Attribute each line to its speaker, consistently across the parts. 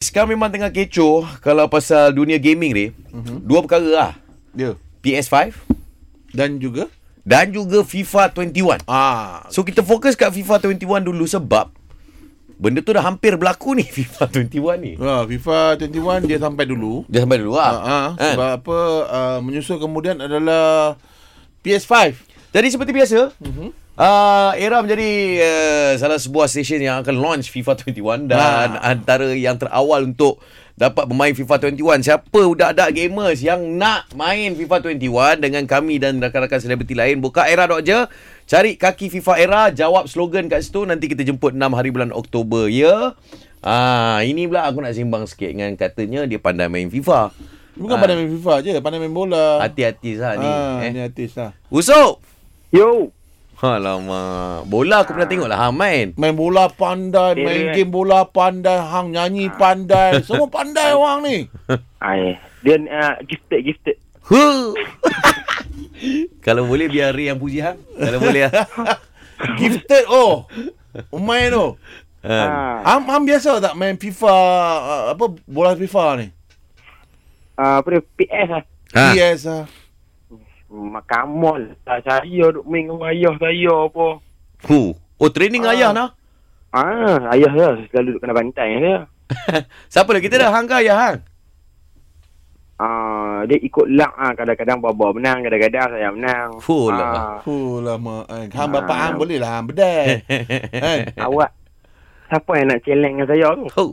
Speaker 1: sekarang memang tengah kecoh kalau pasal dunia gaming ni. Uh-huh. Dua perkara lah.
Speaker 2: Dia.
Speaker 1: PS5
Speaker 2: Ya. Dan juga
Speaker 1: dan juga FIFA 21.
Speaker 2: ah
Speaker 1: So kita fokus kat FIFA 21 dulu sebab benda tu dah hampir berlaku ni FIFA 21 ni.
Speaker 2: ah, FIFA 21 dia sampai dulu.
Speaker 1: Dia sampai dulu
Speaker 2: Ah, ah,
Speaker 1: ah. Kan?
Speaker 2: sebab apa ah, menyusul kemudian adalah PS5.
Speaker 1: Jadi seperti biasa, uh-huh. uh, Era menjadi uh, salah sebuah stesen yang akan launch FIFA 21 dan
Speaker 2: Ah.
Speaker 1: antara yang terawal untuk dapat bermain FIFA 21. Siapa budak-budak gamers yang nak main FIFA 21 dengan kami dan rakan-rakan selebriti lain, buka era.je, cari kaki FIFA Era, jawab slogan kat situ, nanti kita jemput 6 hari bulan Oktober, ya? Ah, ini pula aku nak simbang sikit dengan katanya dia pandai main FIFA.
Speaker 2: Bukan
Speaker 1: Ah.
Speaker 2: pandai main FIFA je, pandai main bola.
Speaker 1: Hati-hati sah ni.
Speaker 2: Ah,
Speaker 1: eh.
Speaker 2: ni artis lah.
Speaker 1: Usop!
Speaker 3: Yo,
Speaker 1: Alamak. Bola aku pernah tengok lah. Ha, main.
Speaker 2: Main bola pandai,
Speaker 3: Dia
Speaker 2: main
Speaker 3: dia- kan? Ah.
Speaker 2: game bola pandai, hang nyanyi pandai. Semua pandai orang ni.
Speaker 3: ai, Ah, dia uh, gifted gifted.
Speaker 1: Huh. Kalau boleh biar Ray yang puji hang. Kalau boleh lah.
Speaker 2: Gifted oh. Main tu.
Speaker 1: Ha.
Speaker 3: Ah,
Speaker 2: Hang, hang biasa tak main FIFA ah, apa bola FIFA ni?
Speaker 3: ah, apa dia PS ah.
Speaker 1: Ha.
Speaker 2: PS ah.
Speaker 3: Mak Kamal Hmm, lah saya duk main dengan ayah saya apa.
Speaker 1: Huh. Oh, training
Speaker 3: Ah.
Speaker 1: ayah nah.
Speaker 3: Ah, ayah saya selalu duk kena bantai dia.
Speaker 1: Siapa lagi? Kita dah hang ke ayah hang?
Speaker 3: Ah, dia ikut luck ah kadang-kadang baba menang, kadang-kadang saya menang.
Speaker 1: Full
Speaker 3: Ah,
Speaker 1: lah.
Speaker 2: Oh lama. eh. Hang bapa
Speaker 3: Ah.
Speaker 2: hang boleh lah hang bedai. kan?
Speaker 3: Awak siapa yang nak challenge dengan saya tu?
Speaker 1: Huh.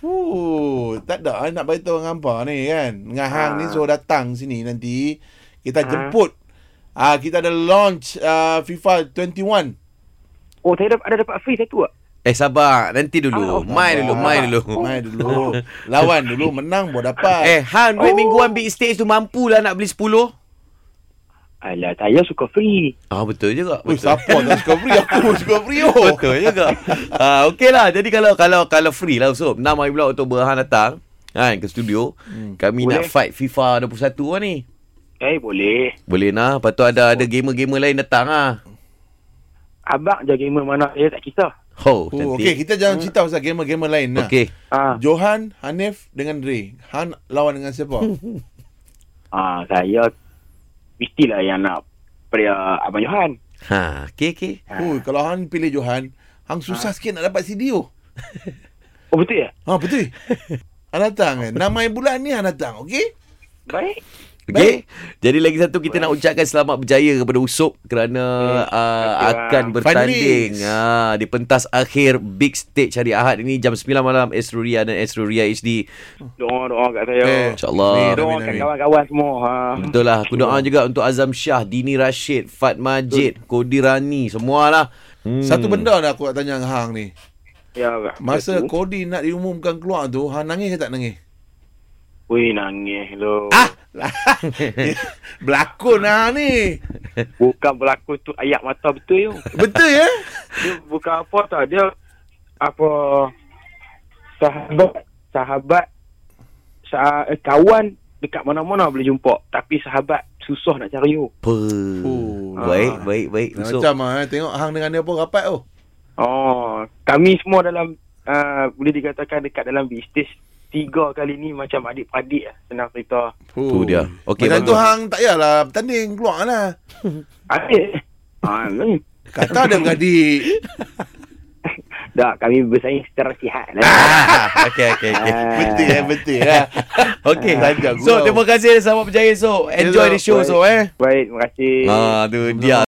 Speaker 2: Fuh, tak ada I nak beritahu dengan hangpa ni kan. Dengan hang ni
Speaker 3: Ah.
Speaker 2: suruh datang sini nanti kita
Speaker 3: Ah.
Speaker 2: jemput. Ah kita ada launch ah, FIFA 21.
Speaker 3: Oh, saya dapat, ada dapat free satu ah.
Speaker 1: Eh, sabar. Nanti
Speaker 3: Ah,
Speaker 1: dulu.
Speaker 3: oh,
Speaker 1: Main dulu.
Speaker 2: Ah,
Speaker 1: Main dulu.
Speaker 2: Main dulu. Lawan dulu menang boleh dapat.
Speaker 1: Eh, hang duit
Speaker 3: Oh.
Speaker 1: mingguan big stage tu mampulah nak beli 10.
Speaker 3: Alah, saya suka free.
Speaker 1: Ah, betul juga.
Speaker 2: Ui,
Speaker 1: Betul.
Speaker 2: siapa tak suka free? Aku pun suka free oh.
Speaker 1: Betul juga. Ah uh, okeylah. Jadi kalau kalau kalau free lah Usop. 6 hari bulan Oktober hang datang kan ke studio. Hmm. Kami Boleh.
Speaker 3: Boleh.
Speaker 1: nak fight FIFA 21 lah ni.
Speaker 3: Eh, boleh.
Speaker 1: Boleh nah. Lepas tu ada ada gamer-gamer lain datang ah.
Speaker 3: Abang je gamer mana saya tak kisah.
Speaker 1: Ho,
Speaker 2: Oh,
Speaker 1: cantik.
Speaker 2: okey, kita jangan cerita pasal gamer-gamer lain lah.
Speaker 1: Okey.
Speaker 3: Ah,
Speaker 2: Johan, Hanif dengan Ray. Han lawan dengan siapa?
Speaker 3: ah saya mestilah yang nak pada Abang Johan.
Speaker 1: Ha, okey okey.
Speaker 2: Ui, kalau Han pilih Johan,
Speaker 1: Ah.
Speaker 2: hang susah sikit nak dapat CD oh.
Speaker 3: Oh, betul ya?
Speaker 2: Ha, betul. Han datang kan. Nama bulan ni Han datang, okey?
Speaker 3: Baik.
Speaker 1: Okey. Jadi lagi satu kita nak ucapkan selamat berjaya kepada Usop kerana uh,
Speaker 3: kasih,
Speaker 1: akan
Speaker 3: Bang.
Speaker 1: bertanding
Speaker 2: Finalist.
Speaker 1: ha, di pentas akhir Big Stage hari Ahad ini jam 9 malam Esroria dan Esroria HD.
Speaker 3: Doa-doa kat saya.
Speaker 2: Eh,
Speaker 1: InsyaAllah.
Speaker 2: Amin,
Speaker 3: Doa
Speaker 2: amin,
Speaker 3: kat
Speaker 2: amin.
Speaker 3: kawan-kawan semua. Ha.
Speaker 1: Betul lah. Aku doa juga untuk Azam Syah, Dini Rashid, Fat Majid, Kodirani, semualah. Hmm.
Speaker 2: Satu benda dah aku nak tanya dengan Hang ni.
Speaker 3: Ya, Kak.
Speaker 2: Masa
Speaker 3: Betul.
Speaker 2: Kodi nak diumumkan keluar tu, Hang nangis ke tak nangis?
Speaker 3: Wih, nangis lo.
Speaker 2: Ah! Berlakon lah ni.
Speaker 3: Bukan berlaku tu ayak mata betul yo.
Speaker 2: Betul ya?
Speaker 3: Dia bukan apa tau. Dia apa sahabat sahabat sah, eh, kawan dekat mana-mana boleh jumpa. Tapi sahabat susah nak cari yo.
Speaker 1: Apa?
Speaker 2: Oh,
Speaker 1: baik,
Speaker 2: lah.
Speaker 1: baik, baik,
Speaker 2: Dah
Speaker 1: Usop.
Speaker 2: Macam ah, eh. tengok Hang dengan dia pun rapat oh.
Speaker 3: Oh, kami semua dalam uh, boleh dikatakan dekat dalam bisnis tiga kali ni macam adik-adik lah, senang cerita.
Speaker 1: Tu dia. Okey,
Speaker 2: Macam
Speaker 1: bagus.
Speaker 2: tu Hang tak payahlah bertanding, keluar lah.
Speaker 3: Adik. ha, ni.
Speaker 2: Kata dia beradik.
Speaker 3: Tak, kami bersaing secara sihat lah.
Speaker 1: Ah, okey, okey, okey.
Speaker 2: Betul eh, betul eh.
Speaker 1: Okey.
Speaker 2: Tajam
Speaker 1: So,
Speaker 2: gua.
Speaker 1: terima kasih selamat berjaya, Sok. Enjoy
Speaker 2: Elok,
Speaker 1: the show,
Speaker 2: baik.
Speaker 1: Sok, eh.
Speaker 3: Baik, terima kasih.
Speaker 1: Ah, tu dia.